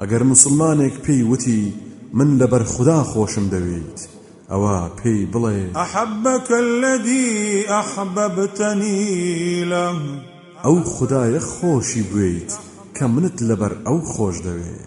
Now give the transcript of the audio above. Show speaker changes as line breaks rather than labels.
ئەگەر مسلمانێک پێی وتی من لەبەر خوددا خۆشم دەوێت ئەوە پێی بڵێ
أحبك الذي أحببتني له
ئەو خدایە خۆشی بوێیت کە منت لەبەر ئەو خۆش دەوێت